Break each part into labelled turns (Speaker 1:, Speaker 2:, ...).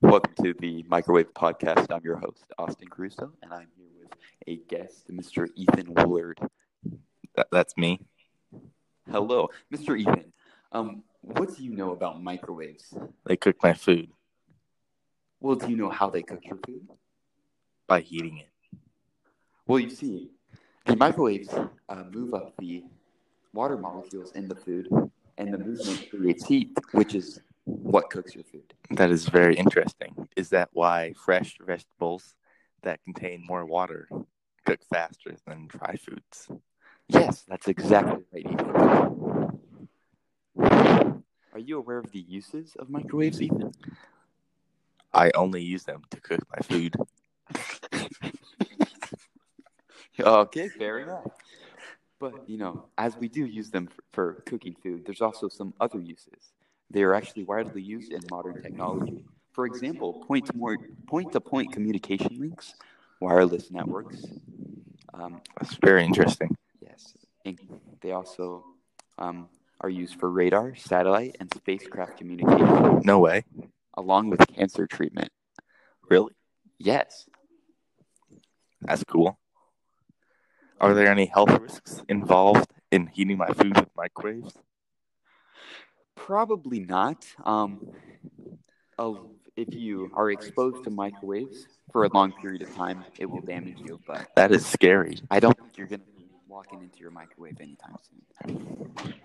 Speaker 1: Welcome to the Microwave Podcast. I'm your host, Austin Caruso, and I'm here with a guest, Mr. Ethan Willard.
Speaker 2: That, that's me.
Speaker 1: Hello, Mr. Ethan. Um, what do you know about microwaves?
Speaker 2: They cook my food
Speaker 1: Well, do you know how they cook your food?
Speaker 2: by heating it.
Speaker 1: Well, you see, the microwaves uh, move up the water molecules in the food, and the movement creates heat, which is what cooks your food.
Speaker 2: That is very interesting. Is that why fresh vegetables that contain more water cook faster than dry foods?
Speaker 1: Yes, that's exactly right, Ethan. Are you aware of the uses of microwaves, Ethan?
Speaker 2: I only use them to cook my food.
Speaker 1: Okay, fair enough. But, you know, as we do use them for, for cooking food, there's also some other uses. They are actually widely used in modern technology. For example, point to more, point-to-point communication links, wireless networks. Um,
Speaker 2: That's very interesting.
Speaker 1: yes, and they also um, are used for radar, satellite, and spacecraft communication,
Speaker 2: No way.
Speaker 1: along with cancer treatment.
Speaker 2: Really?
Speaker 1: Yes.
Speaker 2: That's cool. Are there any health risks involved in heating my food with microwaves?
Speaker 1: Probably not. Um, oh, if you are exposed to microwaves for a long period of time, it will damage you. But
Speaker 2: That is scary.
Speaker 1: I don't think you're going to be walking into your microwave anytime soon.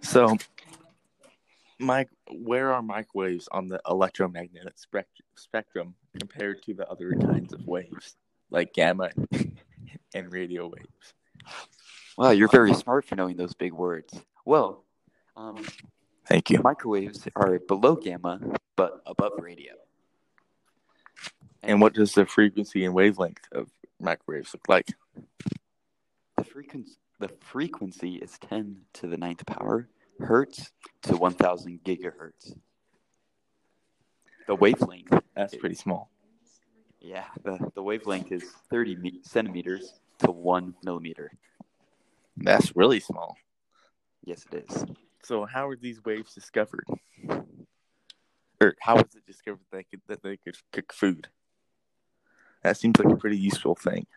Speaker 2: So, Mike, where are microwaves on the electromagnetic spec- spectrum compared to the other kinds of waves, like gamma and radio waves?
Speaker 1: Wow, you're very smart for knowing those big words. Well, um,
Speaker 2: Thank you.
Speaker 1: microwaves are below gamma, but above radio.
Speaker 2: And what does the frequency and wavelength of microwaves look like?
Speaker 1: The frequency the frequency is 10 to the ninth power hertz to 1000 gigahertz. The wavelength,
Speaker 2: That's pretty small.
Speaker 1: yeah, the, the wavelength is 30 me- centimeters to 1 millimeter.
Speaker 2: That's really small.
Speaker 1: Yes, it is.
Speaker 2: So, how were these waves discovered? Or how was it discovered that they could, that they could cook food? That seems like a pretty useful thing.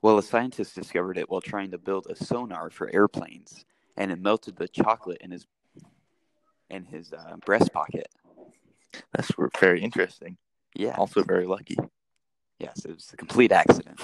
Speaker 1: Well, a scientist discovered it while trying to build a sonar for airplanes, and it melted the chocolate in his in his uh, breast pocket.
Speaker 2: That's very interesting.
Speaker 1: Yeah.
Speaker 2: Also, very lucky.
Speaker 1: Yes, it was a complete accident.